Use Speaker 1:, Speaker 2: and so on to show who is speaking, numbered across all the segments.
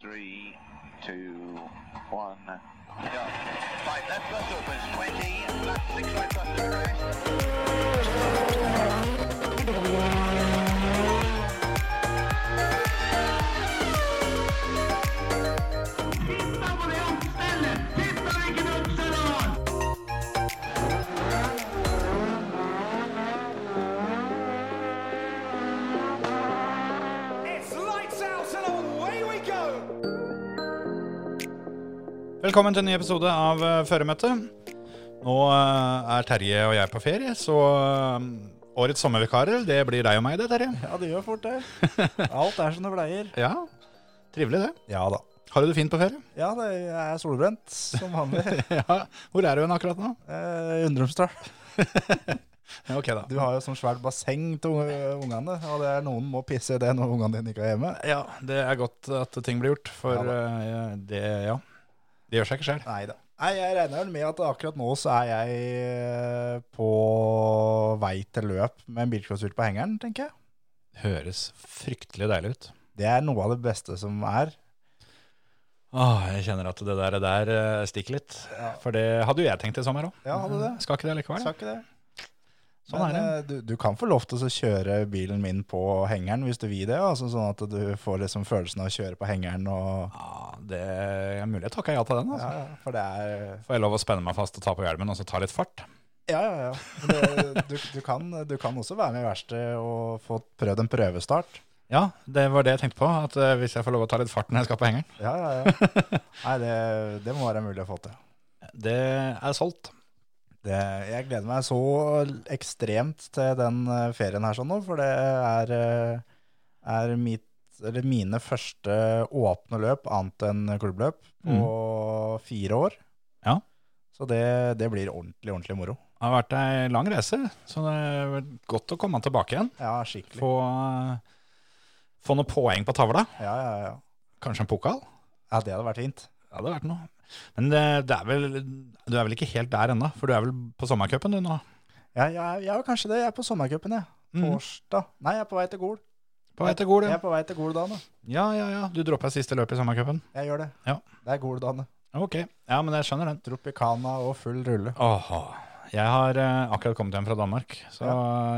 Speaker 1: three, two, one, go. Right, left bus opens, 20, left six right bus to crest.
Speaker 2: Velkommen til en ny episode av eh, Føremøtet. Nå eh, er Terje og jeg på ferie, så eh, årets sommervikarer, det blir deg og meg det, Terje.
Speaker 3: Ja, det gjør fort det. Alt er som det pleier.
Speaker 2: Ja, trivelig det.
Speaker 3: Ja da.
Speaker 2: Har du det fint på ferie?
Speaker 3: Ja, det jeg er solbrent, som vanlig.
Speaker 2: Ja. Hvor er du hen akkurat nå?
Speaker 3: Eh, Undrumsdal.
Speaker 2: Ja, ok da.
Speaker 3: Du har jo sånn svært basseng til unge- ungene, og det er noen må pisse i det når ungene dine ikke er hjemme.
Speaker 2: Ja, det er godt at ting blir gjort, for
Speaker 3: Ja
Speaker 2: eh, det, ja. Det gjør seg ikke selv.
Speaker 3: Nei da. Nei, jeg regner vel med at akkurat nå så er jeg eh, på vei til løp med en bilcrosstur på hengeren, tenker jeg.
Speaker 2: Høres fryktelig deilig ut.
Speaker 3: Det er noe av det beste som er.
Speaker 2: Åh, jeg kjenner at det der, det der eh, stikker litt.
Speaker 3: Ja.
Speaker 2: For det hadde jo jeg tenkt i sommer også.
Speaker 3: Ja, hadde det.
Speaker 2: Skal ikke det likevel?
Speaker 3: Sa ikke det.
Speaker 2: Sånn er
Speaker 3: Men, eh, Du, du kan få lov til å kjøre bilen min på hengeren hvis du vil det. Altså, sånn at du får liksom følelsen av å kjøre på hengeren. Og,
Speaker 2: Ja, det er mulig jeg takker ja til den, altså.
Speaker 3: ja, ja, for det er
Speaker 2: Får jeg lov å spenne meg fast og ta på hjelmen og så ta litt fart?
Speaker 3: Ja, ja, ja. Men Det, du, du, kan, du kan også være med i verkstedet og få prøvd en prøvestart.
Speaker 2: Ja, det var det jeg tenkte på. At eh, hvis jeg får lov å ta litt fart når jeg skal på hengeren.
Speaker 3: Ja, ja, ja. Nei, det, det må være mulig å få til.
Speaker 2: Det er solgt.
Speaker 3: Det, jeg gleder meg så ekstremt til den eh, ferien her sånn nå, for det er, eh, er mitt, eller mine første åpne løp, annet enn klubbløp, på fire år.
Speaker 2: Mm. Ja.
Speaker 3: Så det, det blir ordentlig, ordentlig moro.
Speaker 2: Det har vært ei lang reise, så det er godt å komme tilbake igjen.
Speaker 3: Ja, skikkelig.
Speaker 2: Få, eh, få noen poeng på tavla.
Speaker 3: Ja, ja, ja.
Speaker 2: Kanskje en pokal.
Speaker 3: Ja, det hadde vært fint.
Speaker 2: Det hadde vært noe. Men det, det er vel, du er vel ikke helt der ennå, for du er vel på sommercupen du nå?
Speaker 3: Ja, jeg, er- jeg er kanskje det. Jeg er på sommercupen, jeg.
Speaker 2: Mm.
Speaker 3: Torsdag. Nei, jeg er på vei til Gol.
Speaker 2: På vei til Gol,
Speaker 3: Jeg
Speaker 2: ja.
Speaker 3: er på vei til Gol da, nå.
Speaker 2: Ja, ja, ja. Du droppa siste løp i sommercupen?
Speaker 3: Jeg gjør det.
Speaker 2: Ja.
Speaker 3: Det er Gol da, nå.
Speaker 2: Ok. Ja, men jeg skjønner den.
Speaker 3: Tropicana og full rulle.
Speaker 2: Åh, jeg har eh, akkurat kommet hjem fra Danmark, så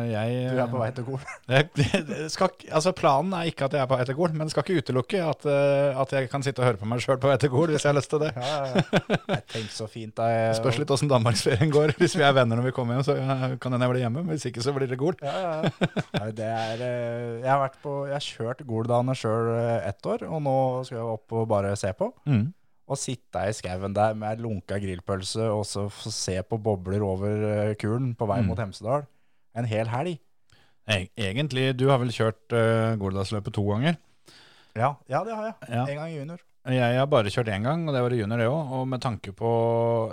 Speaker 2: jeg
Speaker 3: Du er på vei til Gol.
Speaker 2: Jeg, det skal, ikke- altså planen er ikke at jeg er på ettergol, men skal ikke utelukke at, eh, at jeg kan sitte og høre på meg sjøl på ettergol hvis jeg har lyst til det.
Speaker 3: Ja, ja, ja. Nei, Tenk så fint da. Jeg,
Speaker 2: Spørs litt åssen danmarksferien går. Hvis vi er venner når vi kommer hjem, så eh, kan hende jeg blir hjemme. men Hvis ikke, så blir det gol.
Speaker 3: Ja, ja, ja. Nei, Det er, eh, jeg har vært på, jeg har kjørt Goldane sjøl ett år, og nå skal jeg opp og bare se på. Og sitte i skauen der med lunka grillpølse og så få se på bobler over eh, kulen på vei
Speaker 2: Mm.
Speaker 3: mot Hemsedal. En hel helg.
Speaker 2: Eg- E-, Egentlig, du har vel kjørt uh, Goldalsløpet to ganger?
Speaker 3: Ja, ja det har jeg.
Speaker 2: Ja.
Speaker 3: En gang junior.
Speaker 2: Jeg har bare kjørt én gang, og det var i junior det òg. Og med tanke på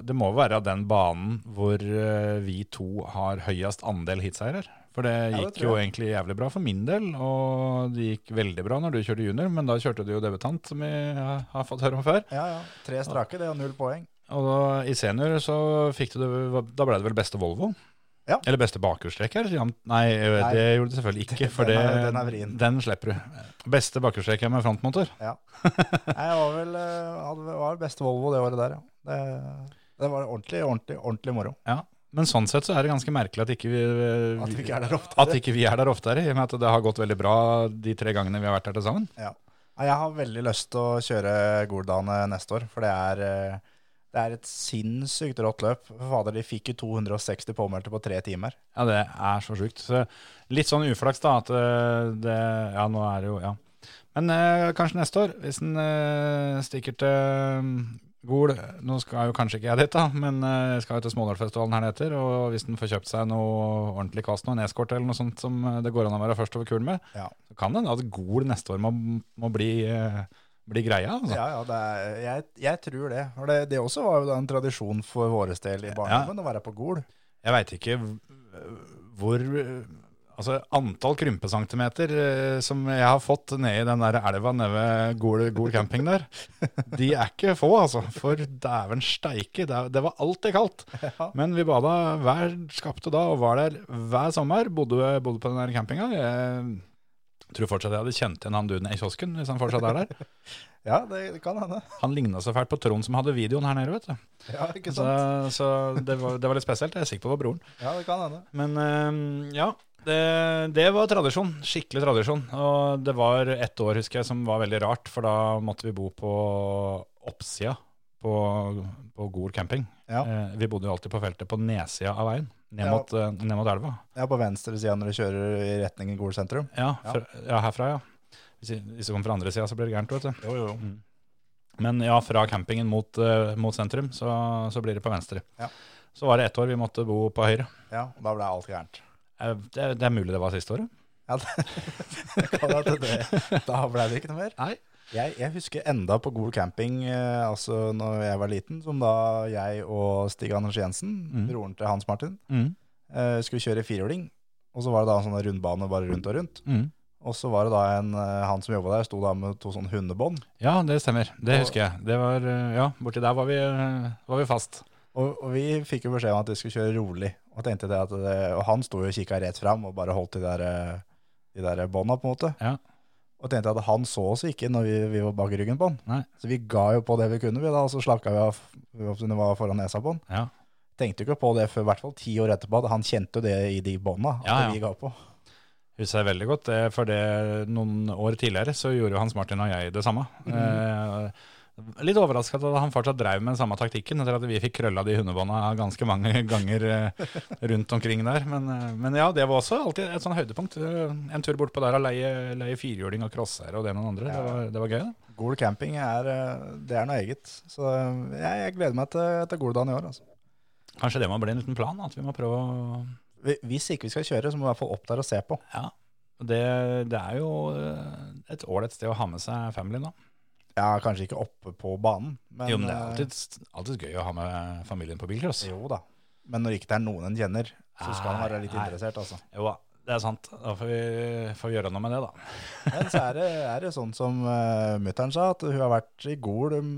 Speaker 2: Det må være den banen hvor eh, vi to har høyest andel heatseirer. For det
Speaker 3: Ja, det
Speaker 2: gikk
Speaker 3: tror
Speaker 2: jo
Speaker 3: jeg.
Speaker 2: egentlig jævlig bra for min del, og det gikk veldig bra når du kjørte junior, men da kjørte du jo debutant, som vi eh, har fått høre om før.
Speaker 3: Ja, ja. Tre strake, det er null poeng.
Speaker 2: Og da, i senior så fikk du det, da ble det vel beste Volvo?
Speaker 3: Ja.
Speaker 2: Eller beste bakhjulstreker? Ja, Nei, eh,
Speaker 3: Nei.
Speaker 2: det gjorde du selvfølgelig ikke, for
Speaker 3: Den
Speaker 2: det,
Speaker 3: er- den er vrien.
Speaker 2: den slipper du. Beste bakhjulstreker med frontmotor?
Speaker 3: Nei, Jeg var vel eh, hadde, var vel beste Volvo det året der, ja. Det, det var ordentlig, ordentlig, ordentlig moro.
Speaker 2: Men sånn sett så er det ganske merkelig at ikke vi,
Speaker 3: At vi ikke er der ofte.
Speaker 2: At ikke vi er der oftere, i og med at det har gått veldig bra de tre gangene vi har vært her til sammen.
Speaker 3: Ja. Nei, Jeg har veldig lyst til å kjøre Goldane neste år, for det er, eh, det er et sinnssykt rått løp. For Fader, de fikk jo 260 påmeldte på tre timer.
Speaker 2: Ja, det er så sjukt. Så litt sånn uflaks, da, at eh, det Ja, nå er det jo Ja. Men eh, kanskje neste år, hvis en eh, stikker til eh, Gol Nå skal jo kanskje ikke jeg dit, da, men eh, jeg skal jo til Smådalfestivalen her etter. Og hvis en får kjøpt seg noe ordentlig kast, noe, en eskort eller noe sånt som eh, det går an å være først over kulen med,
Speaker 3: Ja.
Speaker 2: så kan det hende at Gol neste år må, må bli, eh, bli greia. Altså.
Speaker 3: Ja, ja, det er, jeg, jeg tror det. For det, det også var jo da en tradisjon for vår del i barndommen å være på Gol.
Speaker 2: Jeg veit ikke hv- hvor Altså antall krympesentimeter eh, som jeg har fått nede i den der elva nede ved Gol, Gol camping der, de er ikke få, altså. For dæven steike, det, er- det var alltid kaldt.
Speaker 3: Ja.
Speaker 2: Men vi bada hver skapte da, og var der hver sommer. Bodde, bodde på den der campinga. Jeg Tror fortsatt jeg hadde kjent igjen han duden i kiosken hvis han fortsatt er der.
Speaker 3: Ja, det, det kan hende.
Speaker 2: Han ligna så fælt på Trond som hadde videoen her nede, vet du.
Speaker 3: Ja, ikke
Speaker 2: Så,
Speaker 3: sant?
Speaker 2: så det, var, det var litt spesielt. Jeg er sikker på det var broren.
Speaker 3: Ja, det kan hende.
Speaker 2: Men eh, ja, det, det var tradisjon. Skikkelig tradisjon. Og det var ett år, husker jeg, som var veldig rart, for da måtte vi bo på oppsida på, på Gol camping.
Speaker 3: Ja.
Speaker 2: Eh, vi bodde jo alltid på feltet på nedsida av veien, ned
Speaker 3: Ja.
Speaker 2: mot, eh, ned mot elva.
Speaker 3: Ja, på venstre sida når du kjører i retning Gol sentrum.
Speaker 2: Ja,
Speaker 3: Ja.
Speaker 2: fra, ja herfra, ja. Hvis jeg- hvis du kommer fra andre sida, så blir det gærent, vet du. Mm.
Speaker 3: Jo, jo, jo.
Speaker 2: Men ja, fra campingen mot, eh, mot sentrum, så, så blir det på venstre.
Speaker 3: Ja.
Speaker 2: Så var det ett år vi måtte bo på høyre.
Speaker 3: Ja, og da ble alt gærent.
Speaker 2: Eh, Det, det er mulig det var siste året.
Speaker 3: Ja, det, det kan hende det. Da ble det ikke noe mer.
Speaker 2: Nei.
Speaker 3: Jeg, jeg husker enda på Gol camping, eh, altså når jeg var liten, som da jeg og Stig Anders Jensen,
Speaker 2: Mm.
Speaker 3: broren til Hans Martin,
Speaker 2: Mm,
Speaker 3: eh, skulle kjøre firehjuling. Og så var det da en sånn rundbane bare rundt og rundt.
Speaker 2: mm.
Speaker 3: Og så var det da en, eh, han som jobba der, sto da med to sånne hundebånd.
Speaker 2: Ja, det stemmer. Det
Speaker 3: Og-
Speaker 2: husker jeg. Det var, eh, ja, borti der var vi, eh, var vi fast.
Speaker 3: Og, og vi fikk jo beskjed om at vi skulle kjøre rolig. Og tenkte det at det, og han sto jo og kikka rett fram og bare holdt de der, eh, de der bånda, på en måte.
Speaker 2: Ja.
Speaker 3: Og tenkte at han så oss ikke når vi, vi var bak ryggen på han.
Speaker 2: Nei.
Speaker 3: Så vi ga jo på det vi kunne, vi da, og så slakka vi av vi var- når vi var foran nesa på han.
Speaker 2: Ja.
Speaker 3: Tenkte jo ikke på det før i hvert fall ti år etterpå. at Han kjente jo det i de bånda at
Speaker 2: Ja, ja.
Speaker 3: vi ga på.
Speaker 2: Husker jeg veldig godt, eh, for det, noen år tidligere så gjorde jo Hans Martin og jeg det samme. Eh, litt overraska at han fortsatt drev med den samme taktikken, etter at vi fikk krølla de hundebånda ganske mange ganger eh, rundt omkring der. Men, eh, men ja, det var også alltid et sånn høydepunkt. Eh, En tur bortpå der og leie, leie firhjuling og crosshair og det med noen andre. Det, var, det var gøy. Da.
Speaker 3: Gol camping er, eh, det er noe eget. Så eh, jeg, jeg gleder meg til, til Goldaen i år. altså.
Speaker 2: Kanskje det må bli en liten plan, at vi må prøve å
Speaker 3: Hvi- Hvis ikke vi skal kjøre, så må vi i hvert fall opp der og se på.
Speaker 2: Ja. Det, det er jo eh, et ålreit sted å ha med seg familien, da.
Speaker 3: Ja, kanskje ikke oppe på banen. Men,
Speaker 2: jo, men det er
Speaker 3: eh,
Speaker 2: alltid, alltid gøy å ha med eh, familien på bilcross.
Speaker 3: Jo da. Men når ikke det er noen en kjenner, så skal han være litt
Speaker 2: Nei, nei.
Speaker 3: interessert, altså.
Speaker 2: Jo da, det er sant. Da får vi, får vi gjøre noe med det, da.
Speaker 3: Men så er det, er det sånn som uh, mutter'n sa, at hun har vært i Gol um,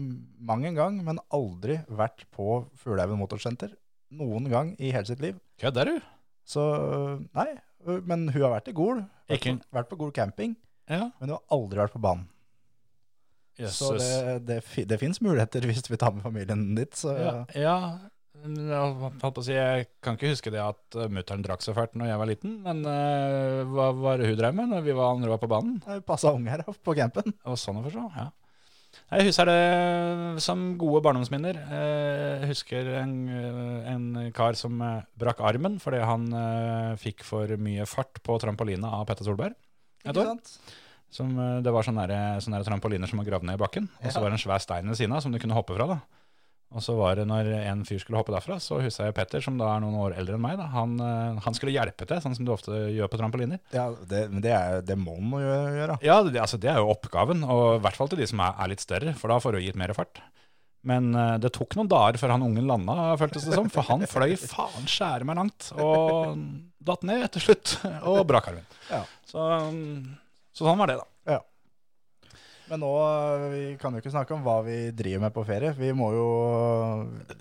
Speaker 3: mang en gang, men aldri vært på Fuglehaugen motorsenter. Noen gang i hele sitt liv.
Speaker 2: Kødder du?
Speaker 3: Så eh, nei. eh, Men hun har vært i Gol. Vært,
Speaker 2: Ikke-
Speaker 3: på- vært på Gol camping,
Speaker 2: Ja.
Speaker 3: men hun har aldri vært på banen. Så
Speaker 2: Jøsses.
Speaker 3: det, det, fi- det fins muligheter hvis vi tar med familien dit. Så
Speaker 2: Ja, ja. Men eh, Jeg holdt på å si, jeg kan ikke huske det at eh, mutter'n drakk så fælt når jeg var liten, men eh, hva var det hun drev med når vi var andre var på banen?
Speaker 3: ja. passa eh, unger opp på campen.
Speaker 2: Det var sånn å forstå, ja. Jeg husker det som gode barndomsminner. Eh, Jeg husker en, en kar som eh, brakk armen fordi han eh, fikk for mye fart på trampolina av Petter Solberg. Et
Speaker 3: Ikke
Speaker 2: år.
Speaker 3: sant?
Speaker 2: Som, eh, det var sånne, der, sånne der trampoliner som var gravd ned i bakken, og så
Speaker 3: Ja.
Speaker 2: var det en svær stein ved siden av som du kunne hoppe fra. da. Og så var det når en fyr skulle hoppe derfra, så husker jeg Petter, som da er noen år eldre enn meg, da, han, eh, han skulle hjelpe til, sånn som du ofte gjør på trampoliner.
Speaker 3: Ja, det, men det, er, det må man jo gjøre.
Speaker 2: Ja, det, altså, det er jo oppgaven, og i hvert fall til de som er, er litt større, for da får du gitt mer fart. Men eh, det tok noen dager før han ungen landa, føltes det som, for han fløy faen skjære meg langt, og datt ned til slutt, og brakk armen.
Speaker 3: Ja.
Speaker 2: Så, mm, så sånn var det, da.
Speaker 3: Men nå eh, vi kan jo ikke snakke om hva vi driver med på ferie. Vi må jo,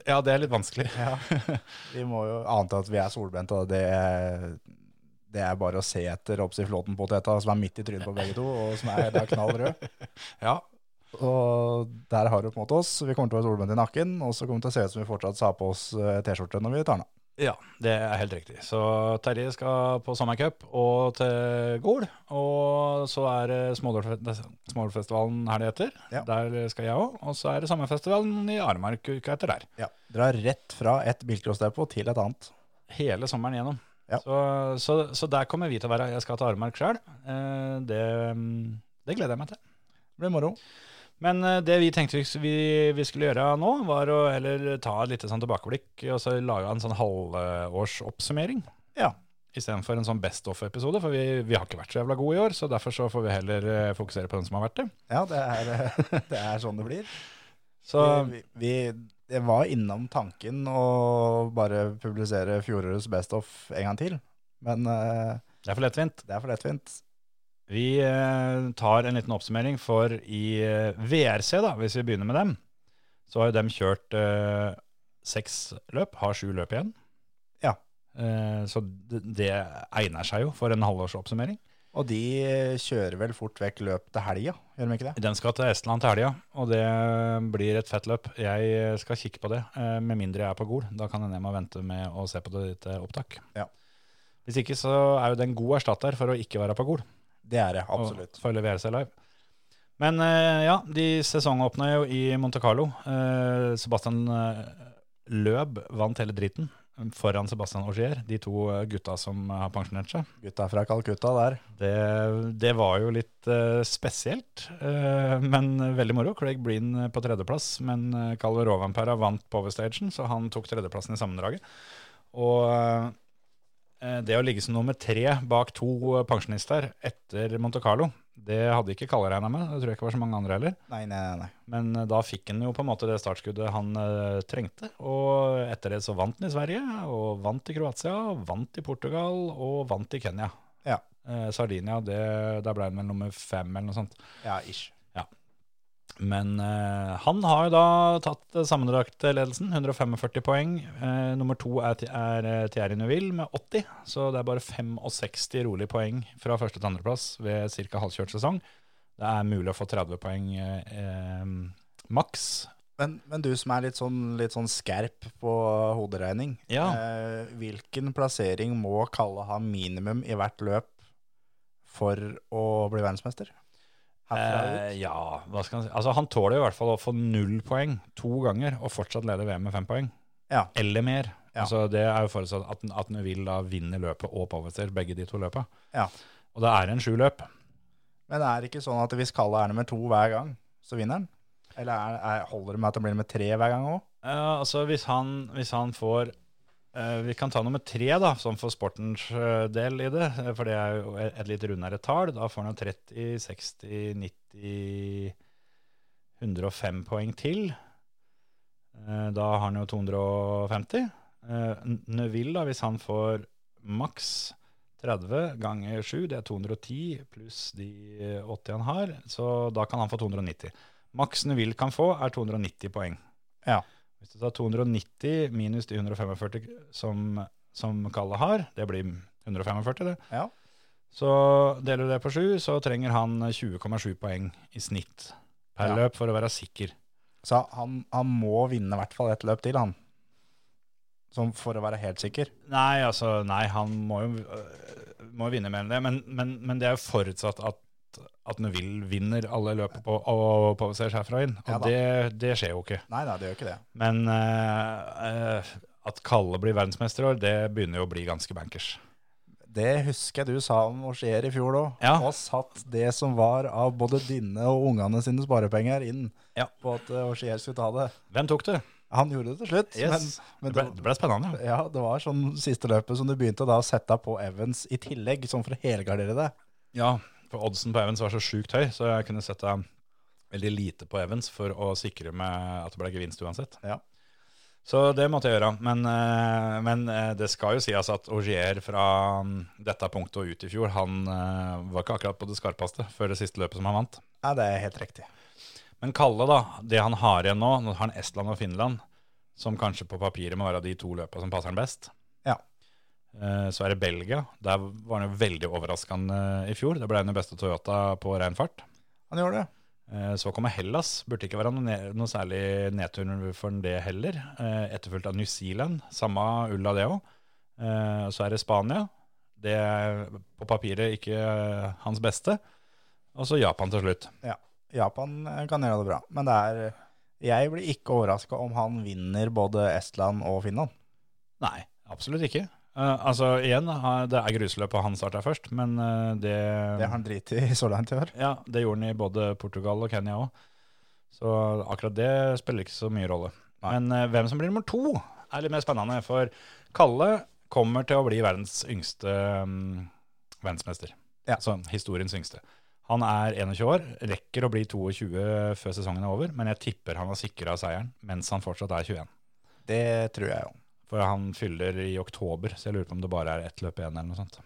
Speaker 2: Ja, det er litt vanskelig.
Speaker 3: ja, vi må jo ante at vi er solbrente. da. Det, er- det er bare å se etter Opsi Flåten-poteta som er midt i trynet på begge to, og som er da knall rød.
Speaker 2: Ja,
Speaker 3: Og der har du på en måte oss. Vi kommer til å være solbrente i nakken, og så kommer det til å se ut som vi fortsatt har på oss eh, T-skjorte når vi tar den av.
Speaker 2: Ja, det er helt riktig. Så Terje skal på sommercup og til Gol. Og så er det Smålålfe- Smålfestivalen her det heter.
Speaker 3: Ja.
Speaker 2: Der skal jeg òg. Og så er det sommerfestivalen i Aremark uka etter der.
Speaker 3: Ja. Dra rett fra et bilcrossdepot til et annet.
Speaker 2: Hele sommeren gjennom.
Speaker 3: Ja.
Speaker 2: Så, så, så der kommer vi til å være. Jeg skal til Aremark sjøl. Eh, det, det gleder jeg meg til.
Speaker 3: Det blir moro.
Speaker 2: Men eh, det vi tenkte vi, vi, vi skulle gjøre nå, var å heller ta et lite sånn tilbakeblikk og så lage en sånn halvårsoppsummering.
Speaker 3: Ja.
Speaker 2: Istedenfor en sånn best of-episode, for vi, vi har ikke vært så jævla gode i år. Så derfor så får vi heller eh, fokusere på den som har vært det.
Speaker 3: Ja, det er, det er sånn det blir.
Speaker 2: Så
Speaker 3: vi, vi, jeg var innom tanken å bare publisere fjorårets Best of en gang til, men eh,
Speaker 2: det er for lettvint.
Speaker 3: det er for lettvint.
Speaker 2: Vi eh, tar en liten oppsummering for i eh, VRC, da, hvis vi begynner med dem. Så har jo dem kjørt eh, seks løp, har sju løp igjen.
Speaker 3: Ja.
Speaker 2: Eh, så det, det egner seg jo for en halvårsoppsummering.
Speaker 3: Og de kjører vel fort vekk løp til helga, gjør de ikke det?
Speaker 2: Den skal til Estland til helga, og det blir et fett løp. Jeg skal kikke på det, eh, med mindre jeg er på Gol. Da kan hende jeg må vente med å se på det til opptak.
Speaker 3: Ja.
Speaker 2: Hvis ikke så er jo det en god erstatter for å ikke være på Gol.
Speaker 3: Det er det, absolutt.
Speaker 2: Og for å levere seg live. Men eh, ja, de sesongåpna jo i Monte Carlo. Eh, Sebastian eh, Løb vant hele driten foran Sebastian Augier, de to eh, gutta som har pensjonert seg.
Speaker 3: Gutta fra Calcutta der.
Speaker 2: Det, det var jo litt eh, spesielt, eh, men veldig moro. Craig Breen eh, på tredjeplass, men uh, Calve Rovampera vant Powerstagen, så han tok tredjeplassen i sammendraget. Og eh, det å ligge som nummer tre bak to eh, pensjonister etter Monte Carlo, det hadde ikke Kalle regna med. Det tror jeg ikke var så mange andre heller.
Speaker 3: Nei, nei, nei. nei.
Speaker 2: Men eh, da fikk han jo på en måte det startskuddet han eh, trengte. Og etter det så vant han i Sverige, og vant i Kroatia, vant i Portugal og vant i Kenya.
Speaker 3: Ja.
Speaker 2: Eh, Sardinia, det, der ble han vel nummer fem eller noe sånt.
Speaker 3: Ja, ish.
Speaker 2: Men eh, han har jo da tatt eh, sammendragte ledelsen, 145 poeng. Eh, nummer to er, Thi- er eh, Thierry Neuville med 80, så det er bare 65 rolig poeng fra første til andreplass ved ca. halvkjørt sesong. Det er mulig å få 30 poeng eh, eh, maks.
Speaker 3: Men, men du som er litt sånn, litt sånn skerp på hoderegning,
Speaker 2: Ja.
Speaker 3: eh, hvilken plassering må Kalle ha minimum i hvert løp for å bli verdensmester? Herfra
Speaker 2: Eh, ja, hva skal han si? Altså, han tåler i hvert fall å få null poeng to ganger og fortsatt lede VM med fem poeng.
Speaker 3: Ja.
Speaker 2: Eller mer.
Speaker 3: Ja.
Speaker 2: Altså, det er jo forutsatt at, at Neville da vinner løpet og Powerstair, begge de to løpene.
Speaker 3: Ja.
Speaker 2: Og det er en sju løp.
Speaker 3: ut. Men er det ikke sånn at hvis Kalle er nummer to hver gang, så vinner han? Eller er, er, holder det med at han blir nummer tre hver gang òg?
Speaker 2: Ja, altså hvis han, hvis han får eh, Vi kan ta nummer tre, da, sånn for sportens eh, del i det. eh, For det er jo et, et litt rundere tall. Da får han jo 30, 60, 90 105 poeng til. Eh, Da har han jo 250. Eh, N- Neville, da, hvis han får maks 30 ganger 7, det er 210 pluss de eh, 80 han har, så da kan han få 290. Maks Neville kan få, er 290 poeng. Hvis du tar 290 minus de 145 som, som Kalle har, det blir 145 det.
Speaker 3: Ja.
Speaker 2: Så deler du det på 7, så trenger han 20,7 poeng i snitt per
Speaker 3: Ja.
Speaker 2: løp for å være sikker.
Speaker 3: Så han, han må vinne i hvert fall ett løp til, han. Som for å være helt sikker.
Speaker 2: Nei, altså, nei, han må jo, øh, må jo vinne mer enn det, men, men, men det er jo forutsatt at, at Neville vinner alle løpet på, og påviser seg fra inn,
Speaker 3: Ja
Speaker 2: og det, det skjer jo ikke.
Speaker 3: Nei da, det gjør ikke det.
Speaker 2: Men øh, øh, at Kalle blir verdensmester i år, det begynner jo å bli ganske bankers.
Speaker 3: Det husker jeg du sa om Ossier i fjor òg.
Speaker 2: Ja.
Speaker 3: Og satt det som var av både dine og ungene sine sparepenger inn
Speaker 2: Ja.
Speaker 3: på at Ossier skulle ta det.
Speaker 2: Hvem tok det?
Speaker 3: Han gjorde det til slutt,
Speaker 2: Yes.
Speaker 3: men,
Speaker 2: det, ble,
Speaker 3: men det,
Speaker 2: det ble spennende.
Speaker 3: ja, det var sånn siste løpet som du begynte da å sette på Evans i tillegg, sånn for å helgardere deg.
Speaker 2: Ja, for oddsen på Evans var så sjukt høy, så jeg kunne sette veldig lite på Evans for å sikre meg at det ble gevinst uansett.
Speaker 3: Ja.
Speaker 2: Så det måtte jeg gjøre. Men, eh, men eh, det skal jo sies at Augier fra mm, dette punktet og ut i fjor, han eh, var ikke akkurat på det skarpeste før det siste løpet som han vant.
Speaker 3: Ja, det er helt riktig.
Speaker 2: Men Kalle, da, det han har igjen nå, nå har han Estland og Finland, som kanskje på papiret må være de to løpene som passer han best.
Speaker 3: Ja.
Speaker 2: Eh, Så er det Belgia. Der var han jo veldig overraskende eh, i fjor. Det ble han jo beste Toyota på ren fart.
Speaker 3: Han gjorde det.
Speaker 2: Eh, Så kommer Hellas. Burde ikke være noe, ne- noe særlig nedtur for det heller. Eh, Etterfulgt av New Zealand. Samme ulla, det òg. Så er det Spania. Det er på papiret ikke eh, hans beste. Og så Japan til slutt.
Speaker 3: Japan eh, kan gjøre det bra, men det er Jeg blir ikke overraska om han vinner både Estland og Finland.
Speaker 2: Nei, absolutt ikke. Eh, altså igjen, eh, det er grusløpet han starta først, men eh, det,
Speaker 3: Det har han driti i så langt i år.
Speaker 2: ja, det gjorde han i både Portugal og Kenya òg. Så akkurat det spiller ikke så mye rolle.
Speaker 3: Nei.
Speaker 2: Men eh, hvem som blir nummer to, er litt mer spennende. For Kalle kommer til å bli verdens yngste mm, verdensmester.
Speaker 3: Ja.
Speaker 2: Så historiens yngste. Han er 21 år, rekker å bli 22 før sesongen er over, men jeg tipper han har sikra seieren mens han fortsatt er 21.
Speaker 3: Det tror jeg jo.
Speaker 2: For han fyller i oktober, så jeg lurer på om det bare er ett løp igjen eller noe sånt.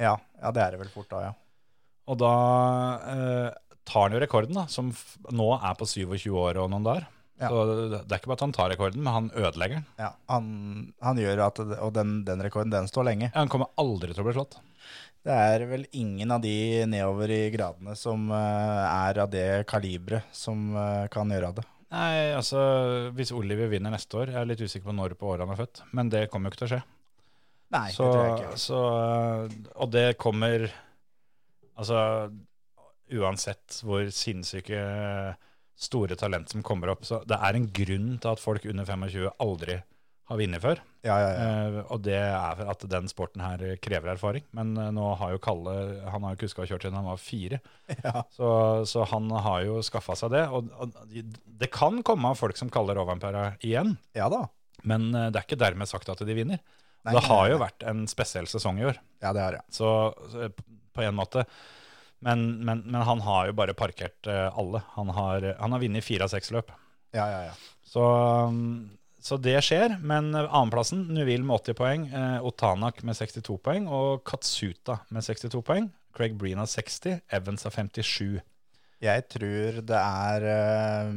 Speaker 3: Ja, ja, det er det vel fort da, ja.
Speaker 2: Og da eh, tar han jo rekorden, da, som f nå er på 27 år og noen dager.
Speaker 3: Ja.
Speaker 2: Så det, det er ikke bare at han tar rekorden, men han ødelegger den.
Speaker 3: Ja, han, han gjør at, det- og den, den rekorden, den står lenge.
Speaker 2: Ja, Han kommer aldri til å bli slått.
Speaker 3: Det er vel ingen av de nedover i gradene som eh, er av det kaliberet som eh, kan gjøre av det.
Speaker 2: Nei, altså, hvis Oliver vinner neste år, jeg er litt usikker på når på året han er født, men det kommer jo ikke til å skje.
Speaker 3: Nei,
Speaker 2: så,
Speaker 3: det tror jeg ikke. altså.
Speaker 2: så, øh, og det kommer Altså, uansett hvor sinnssyke øh, store talent som kommer opp, så det er en grunn til at folk under 25 aldri har vunnet før.
Speaker 3: Ja, ja, ja.
Speaker 2: Eh, og det er for at den sporten her krever erfaring. Men eh, nå har jo Kalle Han har jo kuska og kjørt siden han var fire.
Speaker 3: Ja.
Speaker 2: Så, så han har jo skaffa seg det. Og, og det kan komme av folk som kaller Rovanpera igjen,
Speaker 3: ja da.
Speaker 2: men eh, det er ikke dermed sagt at de vinner.
Speaker 3: Nei,
Speaker 2: det har
Speaker 3: nei,
Speaker 2: jo
Speaker 3: nei.
Speaker 2: vært en spesiell sesong i år,
Speaker 3: Ja, det har jeg.
Speaker 2: så, så eh, på en måte. Men, men, men han har jo bare parkert eh, alle. Han har, han har vunnet fire av seks løp.
Speaker 3: Ja, ja, ja.
Speaker 2: Så, um, så det skjer, men eh, annenplassen, Nuil med 80 poeng, eh, Otanak med 62 poeng og Katsuta med 62 poeng. Craig Breen har 60, Evans har 57.
Speaker 3: Jeg tror det er eh,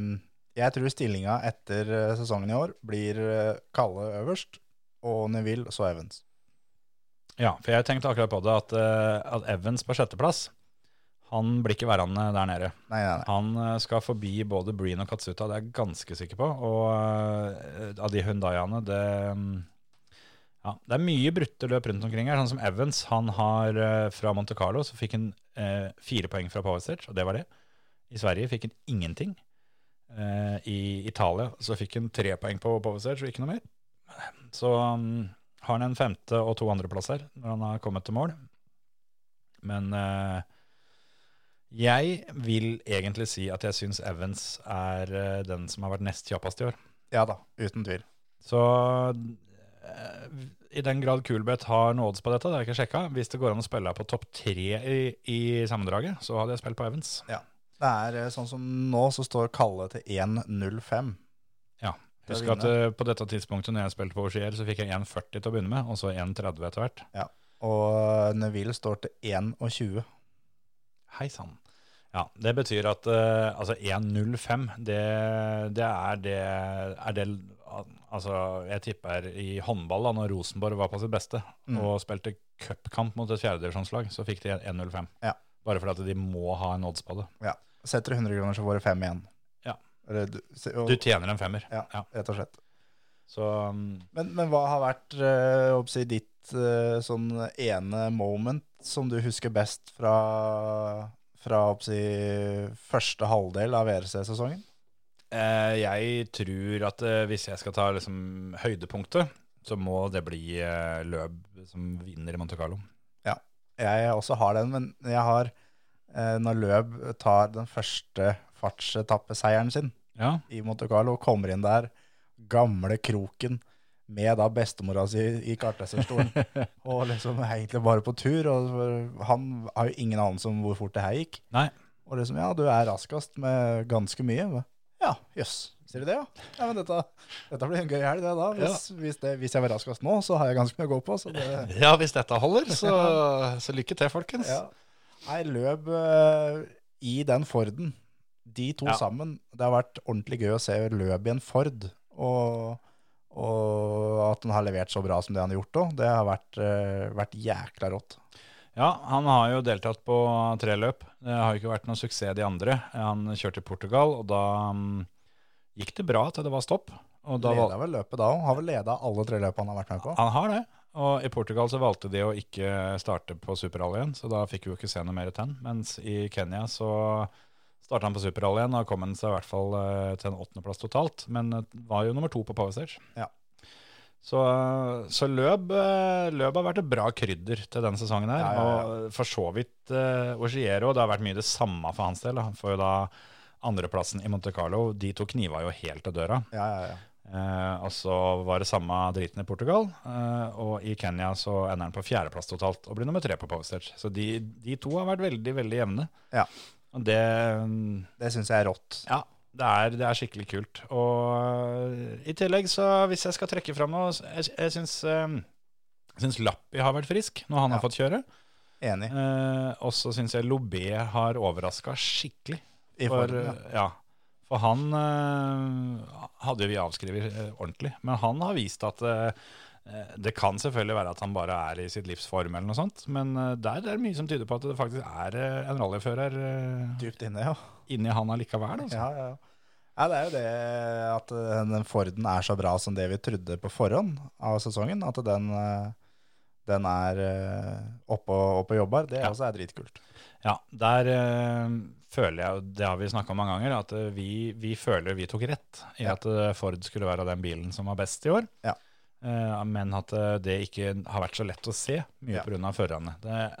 Speaker 3: Jeg tror stillinga etter eh, sesongen i år blir eh, Kalle øverst, og Neville så Evans.
Speaker 2: Ja, for jeg tenkte akkurat på det, at, eh, at Evans på sjetteplass, han blir ikke værende der nede.
Speaker 3: Nei, nei, nei.
Speaker 2: Han eh, skal forbi både Breen og Katsuta, det er jeg ganske sikker på. Og eh, av de Hundaiene, det mm, ja, det er mye brutte løp rundt omkring her. Sånn som Evans, han har eh, fra Monte Carlo så fikk han eh, fire poeng fra Power Stage, og det var det. I Sverige fikk han ingenting. Eh, I Italia så fikk han tre poeng på Power Stage og ikke noe mer. Så mm, har han en femte og to andreplasser når han har kommet til mål. Men eh, jeg vil egentlig si at jeg syns Evans er eh, den som har vært nest kjappest i år.
Speaker 3: Ja da, uten tvil.
Speaker 2: Så eh, i den grad Kulbeth har noe odds på dette, det har jeg ikke sjekka. Hvis det går an å spille her på topp tre i, i sammendraget, så hadde jeg spilt på Evans.
Speaker 3: Det er eh, sånn som nå, så står Kalle til 1,05. Det er
Speaker 2: Husk at eh, på dette tidspunktet når jeg spilte på Ogier, så fikk jeg 1,40 til å begynne med, og så 1,30 etter hvert.
Speaker 3: Og eh, Neville står til 1,20.
Speaker 2: Hei sann. Ja, det betyr at eh, altså 1,05, det, det er det er det, Altså, jeg tipper i håndball, da når Rosenborg var på sitt beste
Speaker 3: Mm.
Speaker 2: og spilte cupkamp mot et fjerdedivisjonslag, så fikk de 1,05.
Speaker 3: Ja.
Speaker 2: Bare fordi at de må ha en odds på det.
Speaker 3: Setter du 100 kroner, så får du 5 igjen.
Speaker 2: Ja.
Speaker 3: Eller, du, se- og,
Speaker 2: Du tjener en femmer.
Speaker 3: ja,
Speaker 2: ja.
Speaker 3: rett og slett.
Speaker 2: Så um,
Speaker 3: Men, men hva har vært eh, jeg håper å si, ditt eh, sånn ene moment som du husker best fra, fra jeg håper å si, første halvdel av VRC-sesongen?
Speaker 2: eh, jeg tror at eh, hvis jeg skal ta liksom, høydepunktet, så må det bli eh, Løb som vinner i Monte Carlo.
Speaker 3: Jeg også har den, men jeg har eh, når Løb tar den første fartsetappeseieren sin
Speaker 2: Ja,
Speaker 3: i Monte Carlo, kommer inn der, gamle kroken, med da bestemora si i kartleserstolen, og liksom er egentlig bare på tur, og han har jo ingen anelse om hvor fort det her gikk.
Speaker 2: Nei.
Speaker 3: Og liksom, ja, du er raskest med ganske mye. Men, ja, jøss, sier du det, ja? Ja, men dette, dette blir en gøy helg det da. Hvis, hvis, det, hvis jeg var raskest nå, så har jeg ganske mye å gå på, så det...
Speaker 2: Ja, hvis dette holder, så, så lykke til, folkens.
Speaker 3: Ja. Nei, løp eh, i den Forden. De to
Speaker 2: Ja.
Speaker 3: sammen. Det har vært ordentlig gøy å se løp i en Ford. Og, og at han har levert så bra som det han har gjort òg, det har vært, eh, vært jækla rått.
Speaker 2: Ja, han har jo deltatt på tre løp. Det har jo ikke vært noen suksess de andre. Han kjørte i Portugal, og da mm, gikk det bra til det var stopp. Og da valgte
Speaker 3: Leda vel løpet da òg. Har vel leda alle tre løpene han har vært med på.
Speaker 2: Han har det. Og i Portugal så valgte de å ikke starte på superrallyen, så da fikk vi jo ikke se noe mer til han. Mens i Kenya så starta han på superrallyen og kom han seg i hvert fall eh, til en åttendeplass totalt, men eh, var jo nummer to på Power Stage.
Speaker 3: Ja.
Speaker 2: Så, så løp, eh, løp har vært et bra krydder til denne sesongen her.
Speaker 3: Ja, ja, ja.
Speaker 2: Og for så vidt eh, Ogiero, det har vært mye det samme for hans del. da. Han får jo da andreplassen i Monte Carlo. De to kniva jo helt til døra.
Speaker 3: Ja, ja, ja.
Speaker 2: Eh, og så var det samme driten i Portugal, eh, og i Kenya så ender han på fjerdeplass totalt og blir nummer tre på Power Stage. Så de, de to har vært veldig, veldig jevne.
Speaker 3: Ja.
Speaker 2: Og det, mm,
Speaker 3: Det syns jeg er rått.
Speaker 2: ja, det er, det er skikkelig kult. Og eh, i tillegg så, hvis jeg skal trekke fram noe, så jeg, jeg syns eh, jeg syns Lappi har vært frisk når han har
Speaker 3: Ja.
Speaker 2: fått kjøre.
Speaker 3: Enig.
Speaker 2: Eh, og så syns jeg Lobé har overraska skikkelig.
Speaker 3: I
Speaker 2: For,
Speaker 3: Forden, ja.
Speaker 2: eh, ja. For han eh, hadde jo vi avskrevet eh, ordentlig, men han har vist at eh, eh, Det kan selvfølgelig være at han bare er i sitt livs form, eller noe sånt, men eh, der er det mye som tyder på at det faktisk er eh, en rallyfører eh,
Speaker 3: Dypt inne, ja.
Speaker 2: inni han allikevel. Altså.
Speaker 3: Ja, ja, ja. Nei, det er jo det at eh, den Forden er så bra som det vi trodde på forhånd av sesongen. At den, eh, den er eh, oppe og, oppe og jobber. Det
Speaker 2: Ja.
Speaker 3: også er dritkult.
Speaker 2: Ja, der eh, føler jeg, og det har vi snakka om mange ganger, at eh, vi, vi føler vi tok rett i
Speaker 3: Ja.
Speaker 2: at eh, Ford skulle være den bilen som var best i år.
Speaker 3: Ja.
Speaker 2: Eh, men at eh, det ikke har vært så lett å se, mye
Speaker 3: Ja.
Speaker 2: på pga. førerne. Det er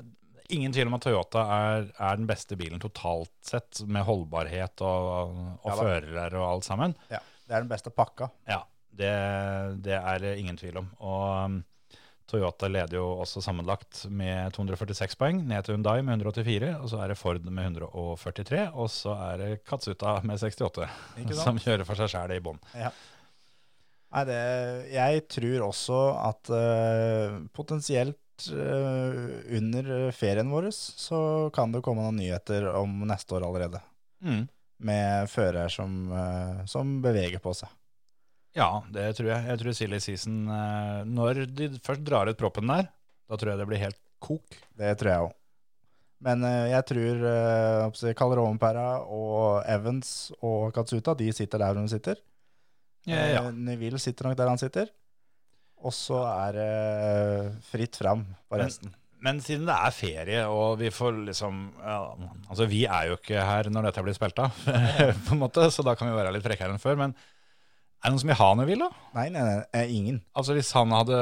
Speaker 2: ingen tvil om at Toyota er, er den beste bilen totalt sett, med holdbarhet og, og
Speaker 3: Ja da.
Speaker 2: førere og alt sammen.
Speaker 3: Ja. Det er den beste pakka.
Speaker 2: Ja, det, det er det ingen tvil om. Og um, Toyota leder jo også sammenlagt med 246 poeng, ned til Hyundai med 184, og så er det Ford med 143, og så er det Katsuta med 68,
Speaker 3: Ikke sant?
Speaker 2: som kjører for seg sjæl i bånn.
Speaker 3: Nei, det, jeg tror også at eh, potensielt eh, under ferien vår så kan det komme noen nyheter om neste år allerede.
Speaker 2: Mm.
Speaker 3: Med fører som, eh, som beveger på seg.
Speaker 2: Ja, det tror jeg. Jeg tror Silly Season eh, Når de først drar ut proppen der, da tror jeg det blir helt kok.
Speaker 3: Det tror jeg òg. Men eh, jeg tror uh, Kalerompera og Evans og Katsuta de sitter der de sitter. Eh, Neville sitter nok der han sitter. Og så er det eh, fritt fram på
Speaker 2: Men-
Speaker 3: resten.
Speaker 2: Men siden det er ferie, og vi får liksom ja, Altså, vi er jo ikke her når dette blir spilt av, på en måte, så da kan vi være litt frekkere enn før. Men er det noen som vil ha Neville, da?
Speaker 3: Nei, nei, nei, eh, ingen.
Speaker 2: Altså Hvis han hadde,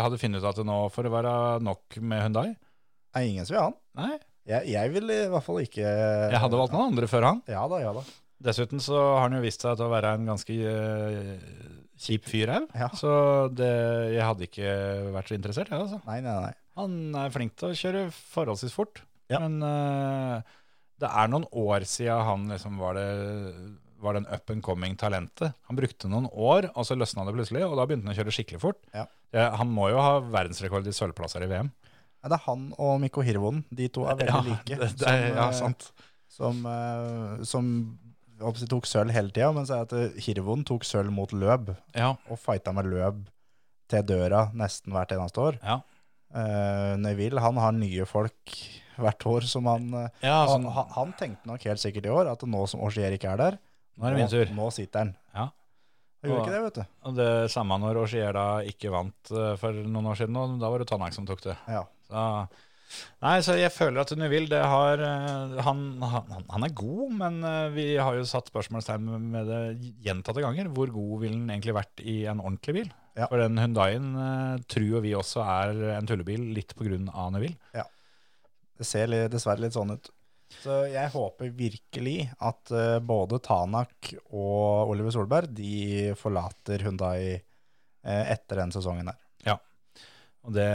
Speaker 2: hadde funnet ut at det nå får det være nok med Hyundai?
Speaker 3: Det er ingen som vil ha han.
Speaker 2: Nei,
Speaker 3: Jeg, jeg vil i hvert fall ikke
Speaker 2: jeg hadde valgt noen andre før han.
Speaker 3: Ja da, ja da.
Speaker 2: Dessuten så har han jo vist seg til å være en ganske eh, kjip fyr her.
Speaker 3: Ja.
Speaker 2: Så det, jeg hadde ikke vært så interessert, jeg, altså.
Speaker 3: Nei, nei, nei.
Speaker 2: Han er flink til å kjøre forholdsvis fort,
Speaker 3: Ja.
Speaker 2: men eh, det er noen år siden han liksom var det var den up and coming talentet. Han brukte noen år, og så løsna det plutselig, og da begynte han å kjøre skikkelig fort.
Speaker 3: Ja.
Speaker 2: Eh, han må jo ha verdensrekord i sølvplasser i VM.
Speaker 3: Nei, Det er han og Mikko Hirvonen. De to er veldig like.
Speaker 2: Det, det, er-
Speaker 3: som,
Speaker 2: ja,
Speaker 3: eh,
Speaker 2: sant.
Speaker 3: Som, eh, som jeg håper å si, tok sølv hele tida, men så er det at eh, Hirvonen tok sølv mot løp.
Speaker 2: Ja,
Speaker 3: og fighta med løp til døra nesten hvert eneste år.
Speaker 2: Ja.
Speaker 3: Eh, Neville han har nye folk hvert år som han eh,
Speaker 2: ja sånn,
Speaker 3: han, han tenkte nok helt sikkert i år at nå som Augier ikke er der,
Speaker 2: nå er det min tur.
Speaker 3: nå sitter han.
Speaker 2: Ja.
Speaker 3: Han gjorde
Speaker 2: Og-
Speaker 3: ikke det, vet du.
Speaker 2: Og det samme når Ogier da ikke vant eh, for noen år siden, og da var det Tanak som tok det.
Speaker 3: Ja.
Speaker 2: Så, nei, så jeg føler at Neville, det har eh, han, han, han er god, men eh, vi har jo satt spørsmålstegn med det gjentatte ganger. Hvor god ville han egentlig vært i en ordentlig bil?
Speaker 3: Ja.
Speaker 2: For den Hundaien tror jo vi også er en tullebil, litt på grunn av Neville.
Speaker 3: Det ser li- dessverre litt sånn ut. Så jeg håper virkelig at eh, både Tanak og Oliver Solberg de forlater Hundai etter den sesongen her.
Speaker 2: Og det,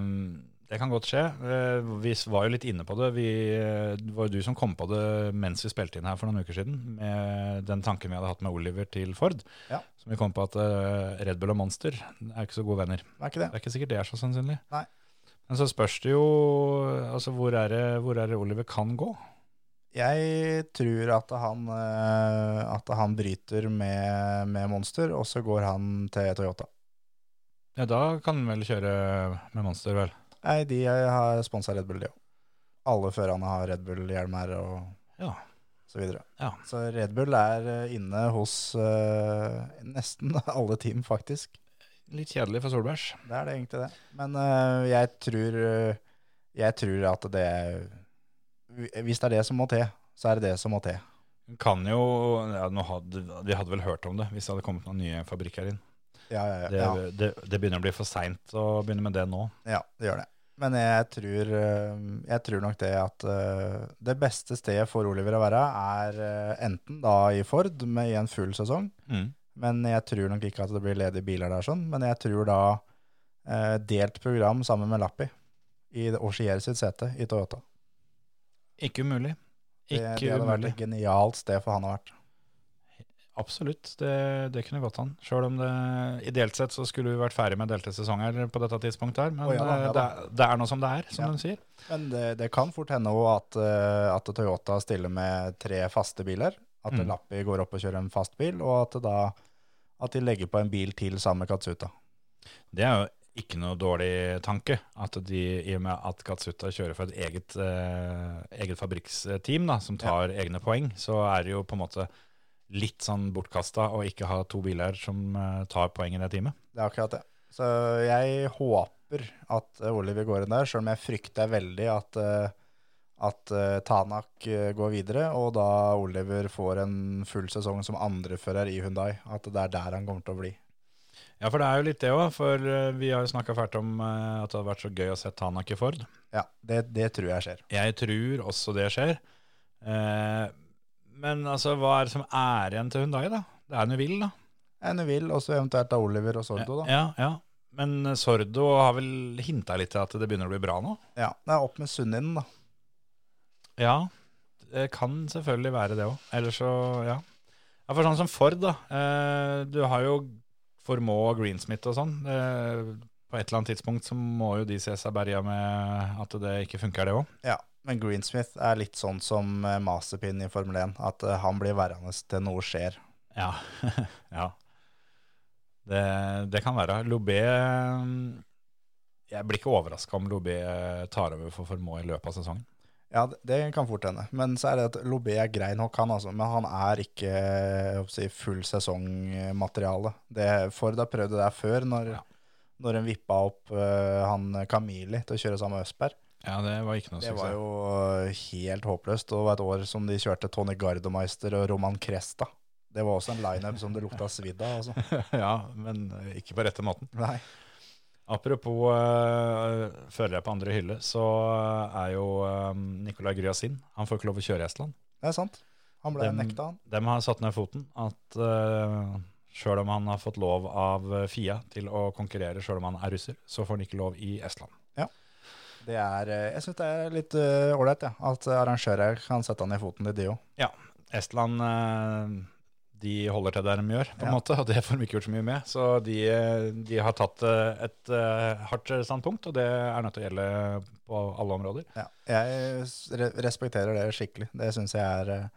Speaker 2: mm, det kan godt skje. Eh, Vi var jo litt inne på det. Vi, eh, det var jo du som kom på det mens vi spilte inn her for noen uker siden, med den tanken vi hadde hatt med Oliver til Ford.
Speaker 3: Ja.
Speaker 2: Som vi kom på at eh, Red Bull og Monster er ikke så gode venner.
Speaker 3: Er ikke det?
Speaker 2: Det er ikke sikkert det er så sannsynlig.
Speaker 3: Nei.
Speaker 2: Men så spørs det jo altså hvor er det, hvor er det Oliver kan gå.
Speaker 3: Jeg tror at han, eh, at han bryter med, med Monster, og så går han til Toyota.
Speaker 2: Ja, Da kan han vel kjøre med Monster, vel.
Speaker 3: Nei, de har sponsa Red Bull, de òg. Alle førerne har Red Bull-hjelm her, og
Speaker 2: Ja.
Speaker 3: så videre.
Speaker 2: Ja.
Speaker 3: Så Red Bull er eh, inne hos eh, nesten alle team, faktisk.
Speaker 2: Litt kjedelig for Solbergs.
Speaker 3: Det er det egentlig det. Men eh, jeg, tror, eh, jeg tror at det Hvis det er det som må til, så er det det som må til.
Speaker 2: Kan jo, ja, nå hadde, Vi hadde vel hørt om det hvis det hadde kommet noen nye fabrikker inn.
Speaker 3: Ja, ja, ja.
Speaker 2: Det,
Speaker 3: ja.
Speaker 2: det, det begynner å bli for seint å begynne med det nå.
Speaker 3: Ja, det gjør det. Men jeg tror, eh, jeg tror nok det at eh, det beste stedet for Oliver å være, er eh, enten da i Ford med i en full sesong,
Speaker 2: Mm.
Speaker 3: men jeg tror nok ikke at det blir ledige biler der sånn. Men jeg tror da eh, delt program sammen med Lappi i Oshier sitt sete i Toyota.
Speaker 2: Ikke umulig.
Speaker 3: Det, det
Speaker 2: Ikke
Speaker 3: hadde vært
Speaker 2: umulig.
Speaker 3: et genialt sted for han å vært.
Speaker 2: Absolutt, det, det kunne gått an. Sjøl om det ideelt sett så skulle vi vært ferdig med delte sesonger på dette tidspunktet her, men
Speaker 3: Å, ja da, ja
Speaker 2: eh,
Speaker 3: da.
Speaker 2: Det, er- det er nå som det er, som
Speaker 3: Ja.
Speaker 2: de sier.
Speaker 3: Men det, det kan fort hende også at, eh, at Toyota stiller med tre faste biler. At
Speaker 2: Mm.
Speaker 3: Lappi går opp og kjører en fast bil, og at, det da, at de legger på en bil til sammen med Katsuta.
Speaker 2: Det er jo ikke noe dårlig tanke. At de, i og med at Katsuta kjører for et eget, eh, eget fabrikksteam da, som tar egne poeng, så er det jo på en måte litt sånn bortkasta å ikke ha to biler som eh, tar poeng i det teamet.
Speaker 3: Det er akkurat det. Så jeg håper at eh, Oliver går inn der, selv om jeg frykter veldig at, eh, at eh, Tanak eh, går videre, og da Oliver får en full sesong som andrefører i Hyundai. At det er der han kommer til å bli.
Speaker 2: Ja, for det er jo litt det òg. For eh, vi har jo snakka fælt om eh, at det hadde vært så gøy å se Tanak i Ford.
Speaker 3: Ja, det, det tror jeg skjer.
Speaker 2: Jeg tror også det skjer. Eh, men altså, hva er det som er igjen til Hyundai da? Det er Neville, da.
Speaker 3: En vil, og så eventuelt da Oliver og Sordo, da.
Speaker 2: Ja, ja. Men eh, Sordo har vel hinta litt til at det begynner å bli bra nå?
Speaker 3: Ja, det er opp med Sunninen, da.
Speaker 2: Ja, det kan selvfølgelig være det òg. Eller så, ja. ja. For sånn som Ford, da. Eh, du har jo Formå og Greensmith og sånn. Eh, på et eller annet tidspunkt så må jo de se seg berga med at det ikke funker, det òg.
Speaker 3: Ja, men Greensmith er litt sånn som eh, Masterpin i Formel 1, at eh, han blir værende til noe skjer.
Speaker 2: Ja. ja. Det, det kan være. Lobé eh, Jeg blir ikke overraska om Lobé eh, tar over for Formå i løpet av sesongen.
Speaker 3: Ja, det- det kan fort hende. Men så er det at Lobé er grei nok, han altså. Men han er ikke jeg håper å si, full sesongmateriale. Det- Ford har prøvd det der før, når,
Speaker 2: Ja.
Speaker 3: når en vippa opp eh, han Camili til å kjøre sammen med Østberg.
Speaker 2: Ja, det var ikke noe
Speaker 3: Det
Speaker 2: suksess.
Speaker 3: var jo eh, helt håpløst. Og det var et år som de kjørte Tony Gardemeister og Roman Cresta. Det var også en lineup som det lukta svidd av, altså.
Speaker 2: ja, men eh, ikke på rette måten.
Speaker 3: Nei.
Speaker 2: Apropos uh, førere på andre hylle, så er jo uh, Nicolai Gryasin Han får ikke lov å kjøre i Estland.
Speaker 3: Det er sant. Han ble
Speaker 2: Dem-
Speaker 3: nekta, han.
Speaker 2: De har satt ned foten at uh, sjøl om han har fått lov av eh, FIA til å konkurrere sjøl om han er russer, så får han ikke lov i Estland.
Speaker 3: Det er, eh, jeg syns det er litt eh, ålreit, ja, at arrangører kan sette han i foten i det òg.
Speaker 2: Estland eh, de holder til der de gjør, på en
Speaker 3: Ja.
Speaker 2: måte, og det får de ikke gjort så mye med. Så de, eh, de har tatt eh, et eh, hardt standpunkt, og det er nødt til å gjelde på alle områder.
Speaker 3: Ja, jeg s- re- respekterer det skikkelig. Det syns jeg er eh,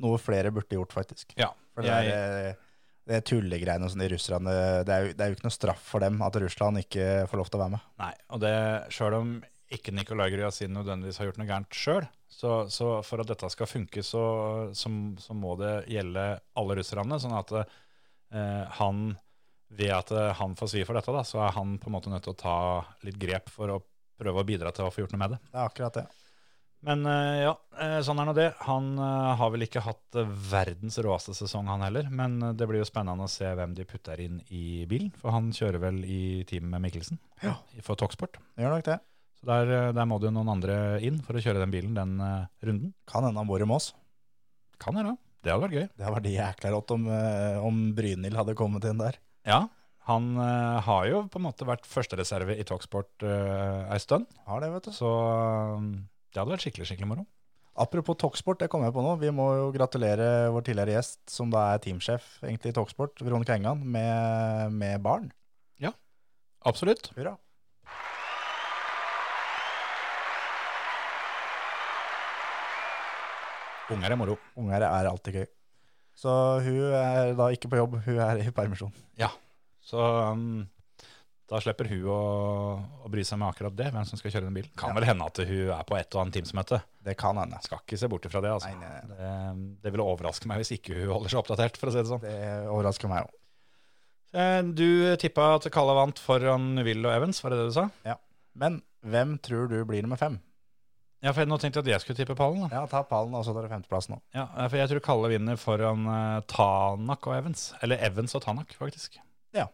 Speaker 3: noe flere burde gjort, faktisk.
Speaker 2: Ja,
Speaker 3: For det,
Speaker 2: jeg-
Speaker 3: er, eh, det er tullegreiene som de russerne det er, jo, det er jo ikke noe straff for dem at Russland ikke får lov til å være med.
Speaker 2: Nei, og det sjøl om ikke Nicolai Gryasin nødvendigvis har gjort noe gærent sjøl, så, så for at dette skal funke, så, så, så må det gjelde alle russerne. Sånn at eh, han ved at eh, han får svi for dette, da, så er han på en måte nødt til å ta litt grep for å prøve å bidra til å få gjort noe med det.
Speaker 3: Det er akkurat det.
Speaker 2: Men eh, ja, eh, sånn er nå det. Han eh, har vel ikke hatt eh, verdens råeste sesong, han heller. Men eh, det blir jo spennende å se hvem de putter inn i bilen. For han kjører vel i team med Mikkelsen
Speaker 3: Ja.
Speaker 2: for Toksport.
Speaker 3: Det Gjør nok det.
Speaker 2: Så der, eh, der må det jo noen andre inn for å kjøre den bilen den eh, runden.
Speaker 3: Kan hende han bor i Moss.
Speaker 2: Kan være. Det hadde vært gøy.
Speaker 3: Det hadde vært jækla rått om, eh, om Brynhild hadde kommet inn der.
Speaker 2: Ja, han eh, har jo på en måte vært førstereserve i Talksport uh, ei stund,
Speaker 3: Har det, vet du.
Speaker 2: så eh, det hadde vært skikkelig, skikkelig moro.
Speaker 3: Apropos Talksport, det kom jeg på nå. Vi må jo gratulere vår tidligere gjest, som da er teamsjef egentlig i Talksport, Veronica Engan, med, med barn.
Speaker 2: Absolutt.
Speaker 3: Hurra.
Speaker 2: Unger er moro.
Speaker 3: Unger er alltid gøy. Så hun er da ikke på jobb, hun er i permisjon.
Speaker 2: Så um, da slipper hun å, å bry seg med akkurat det, hvem som skal kjøre den bilen. Kan
Speaker 3: Ja.
Speaker 2: vel hende at hun er på et og annet teamsmøte.
Speaker 3: Det kan hende.
Speaker 2: Skal ikke se bort ifra det, altså.
Speaker 3: Nei, nei, nei.
Speaker 2: Det, det ville overraske meg hvis ikke hun holder seg oppdatert, for å si det sånn.
Speaker 3: Det overrasker meg òg.
Speaker 2: Eh, Du tippa at Kalla vant foran Neville og Evans, var det det du sa?
Speaker 3: Men hvem tror du blir nummer fem?
Speaker 2: Ja, for jeg- nå tenkte jeg at jeg skulle tippe pallen. da.
Speaker 3: Ja, ta pallen, og så tar du femteplass nå.
Speaker 2: Ja, eh, for jeg tror Kalle vinner foran eh, Tanak og Evans. Eller Evans og Tanak, faktisk.
Speaker 3: Ja.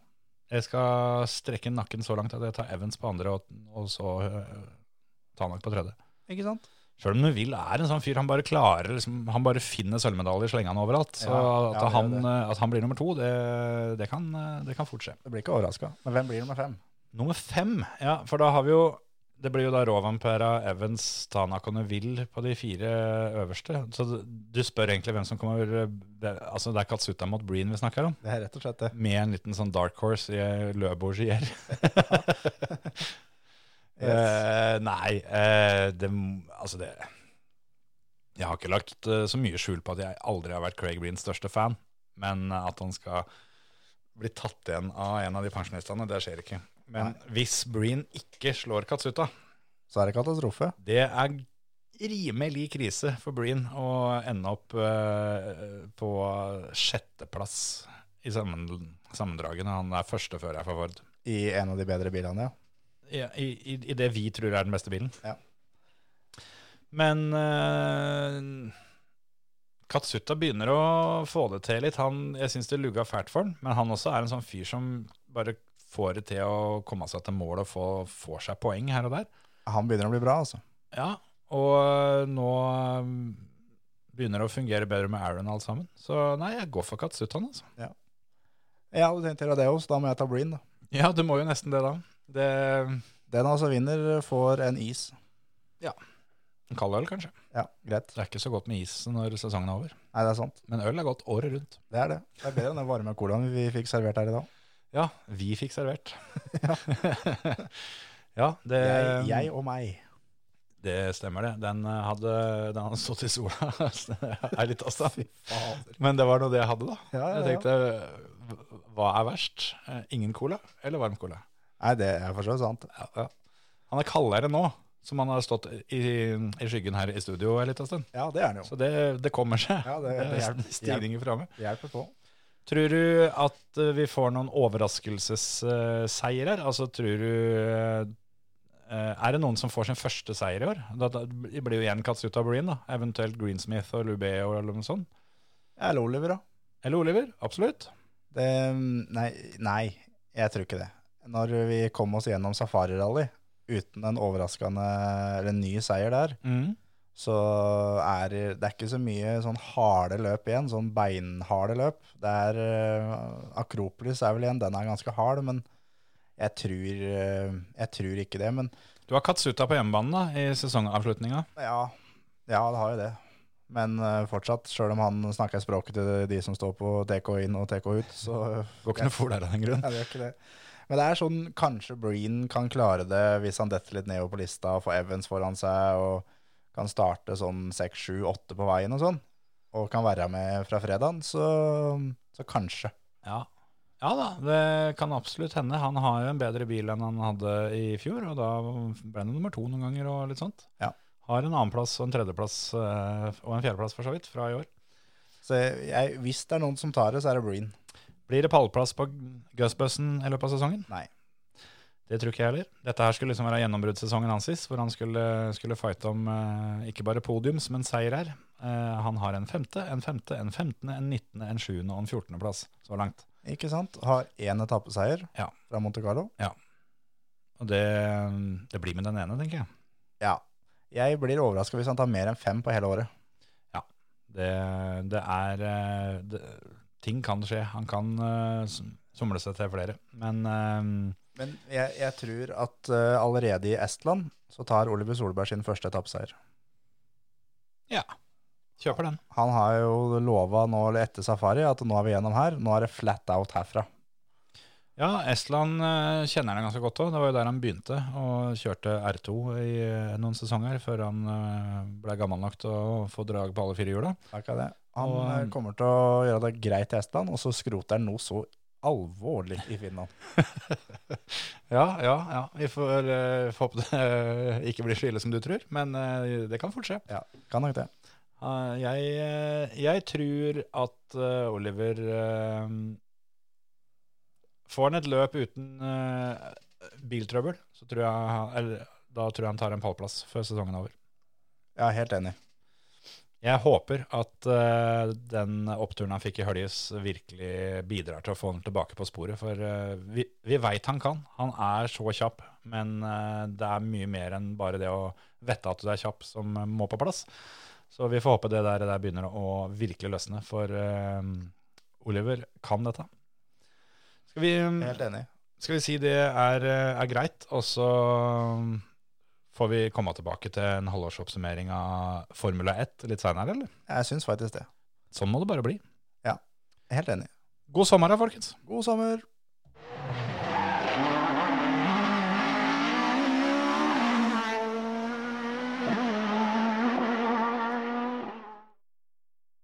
Speaker 2: Jeg skal strekke nakken så langt at jeg tar Evans på andre og, og så eh, Tanak på tredje.
Speaker 3: Ikke sant?
Speaker 2: Sjøl om Neville er en sånn fyr, han bare klarer liksom, Han bare finner sølvmedaljer slengende overalt. Så
Speaker 3: Ja,
Speaker 2: at,
Speaker 3: ja, det er
Speaker 2: han,
Speaker 3: det.
Speaker 2: eh, at han blir nummer to, det, det, kan, eh, det kan fort skje.
Speaker 3: Du blir ikke overraska. Men hvem blir nummer fem?
Speaker 2: Nummer fem, ja, for da har vi jo Det blir jo da Rovampera, Evans, Tanak og Neville på de fire øverste. Så du- du spør egentlig hvem som kommer det, Altså det er Katsuta mot Breen vi snakker om,
Speaker 3: Det er rett og slett det.
Speaker 2: med en liten sånn dark horse i Løbourgier.
Speaker 3: Yes.
Speaker 2: Eh, nei, eh, det, m- altså det Jeg har ikke lagt eh, så mye skjul på at jeg aldri har vært Craig Breens største fan, men eh, at han skal bli tatt igjen av en av de pensjonistene, det skjer ikke. Men hvis Breen ikke slår Katsuta,
Speaker 3: Så er det katastrofe.
Speaker 2: det er rimelig krise for Breen å ende opp eh, på sjetteplass i sammen- sammendragene. Han er førstefører for Ford.
Speaker 3: I en av de bedre bilene, ja.
Speaker 2: I, i, I det vi tror er den beste bilen.
Speaker 3: Ja.
Speaker 2: Men eh, Katsuta begynner å få det til litt. Han, jeg syns det lugga fælt for han, men han også er en sånn fyr som bare får det til å komme seg til mål og få, får seg poeng her og der.
Speaker 3: Han begynner å bli bra, altså.
Speaker 2: Ja, og nå eh, begynner det å fungere bedre med Aaron alt sammen. Så nei, jeg går for Katsuta, han, altså.
Speaker 3: Jeg hadde tenkt å gjøre det også, da må jeg ta Breen, da.
Speaker 2: Ja, du må jo nesten det, da. Det
Speaker 3: Den altså vinner, får en is.
Speaker 2: en Kald øl, kanskje.
Speaker 3: Ja, greit.
Speaker 2: Det er ikke så godt med is når sesongen er over.
Speaker 3: Nei, det er sant.
Speaker 2: Men øl er godt året rundt.
Speaker 3: Det er det. Det er bedre enn den varme colaen vi fikk servert her i dag.
Speaker 2: Ja, vi fikk servert. ja, det,
Speaker 3: Jeg, jeg og meg.
Speaker 2: det stemmer det. Den eh, hadde, den hadde stått i sola ei lita stund.
Speaker 3: Fader.
Speaker 2: Men det var nå det jeg hadde, da.
Speaker 3: Ja, ja,
Speaker 2: Jeg
Speaker 3: ja.
Speaker 2: tenkte, eh, hva er verst? Eh, Ingen cola eller varm cola?
Speaker 3: Nei, det er for så vidt sant.
Speaker 2: Ja, ja. Han er kaldere nå, som han har stått i, i skyggen her i studio ei lita stund.
Speaker 3: Ja, det er den jo.
Speaker 2: Så det, det kommer seg.
Speaker 3: Ja, det- det hjelper.
Speaker 2: er stigninger framme.
Speaker 3: Hjelper på.
Speaker 2: Tror du at eh, vi får noen overraskelsesseier her? Altså, tror du eh, Er det noen som får sin første seier i år? Da, da det blir jo igjen Katsuta Breen, da. Eventuelt Greensmith og Lubé og eller noe sånt.
Speaker 3: Eller Oliver, da.
Speaker 2: Eller Oliver. Absolutt.
Speaker 3: Det, nei, nei, jeg tror ikke det. Når vi kom oss gjennom safarirally uten en overraskende eller en ny seier der,
Speaker 2: Mm.
Speaker 3: så er det- det er ikke så mye sånn harde løp igjen, sånn beinharde løp. Det er eh, Akropolis er vel igjen, den er ganske hard, men jeg tror, eh, jeg tror ikke det. Men
Speaker 2: Du har Katsuta på hjemmebane da, i sesongavslutninga.
Speaker 3: ja, ja, det har jo det. Men eh, fortsatt, sjøl om han snakker språket til de som står på TK inn og TK ut, så
Speaker 2: Går ikke noe for der av den grunn.
Speaker 3: Nei, det gjør ikke det. Men det er sånn kanskje Breen kan klare det hvis han detter litt nedover på lista og får Evans foran seg og kan starte sånn 6-7-8 på veien og sånn, og kan være med fra fredagen, så, så kanskje.
Speaker 2: Ja. ja da, det kan absolutt hende. Han har jo en bedre bil enn han hadde i fjor, og da ble han nummer to noen ganger og litt sånt.
Speaker 3: Ja.
Speaker 2: Har en annenplass og en tredjeplass eh, og en fjerdeplass for så vidt fra i år.
Speaker 3: Så jeg, hvis det er noen som tar det, så er det Breen.
Speaker 2: Blir det pallplass på Gussbussen i løpet av sesongen?
Speaker 3: Nei.
Speaker 2: Det tror ikke jeg heller. Dette her skulle liksom være gjennombruddssesongen hans sist, hvor han skulle, skulle fighte om eh, ikke bare podiums, men seier her. Eh, han har en femte, en femte, en femtende, en nittende, en sjuende og en fjortendeplass så langt.
Speaker 3: Ikke sant? Har én etappeseier
Speaker 2: Ja.
Speaker 3: fra Monte Carlo.
Speaker 2: Og det, det blir med den ene, tenker jeg.
Speaker 3: Ja. Jeg blir overraska hvis han tar mer enn fem på hele året.
Speaker 2: Det, det er eh, det, Ting kan skje. Han kan eh, sum- somle seg til flere. Men eh,
Speaker 3: Men jeg, jeg tror at eh, allerede i Estland så tar Oliver Solberg sin første etappeseier.
Speaker 2: kjøper den.
Speaker 3: Han har jo lova nå eller etter safari at nå er vi gjennom her. Nå er det flat out herfra.
Speaker 2: Ja, Estland eh, kjenner han ganske godt òg. Det var jo der han begynte og kjørte R2 i eh, noen sesonger før han eh, ble gammel nok til å få drag på alle fire hjula.
Speaker 3: Takk er det. Han
Speaker 2: Og,
Speaker 3: eh,
Speaker 2: um,
Speaker 3: kommer til å gjøre det greit i Estland, og så skroter han noe så alvorlig i Finland.
Speaker 2: Ja, ja, ja. Vi får eh, får håpe det eh, ikke blir så ille som du tror, men eh, det kan fort skje.
Speaker 3: Kan nok det.
Speaker 2: Eh, jeg, eh, jeg tror at eh, Oliver eh, Får han et løp uten eh, biltrøbbel, så tror jeg, han- eller, da tror jeg han tar en pallplass før sesongen er over.
Speaker 3: Jeg er helt enig.
Speaker 2: Jeg håper at eh, den oppturen han fikk i Høljes virkelig bidrar til å få han tilbake på sporet, for eh, vi, vi veit han kan. Han er så kjapp, men eh, det er mye mer enn bare det å vette at du er kjapp som må på plass. Så vi får håpe det der, det der begynner å virkelig løsne, for eh, Oliver kan dette. Skal vi
Speaker 3: Jeg er Helt enig.
Speaker 2: skal vi si det er, eh, er greit, og så får vi komme tilbake til en halvårsoppsummering av Formula 1 litt seinere, eller?
Speaker 3: Jeg syns faktisk det.
Speaker 2: Sånn må det bare bli.
Speaker 3: Helt enig.
Speaker 2: God sommer da, folkens!
Speaker 3: God sommer.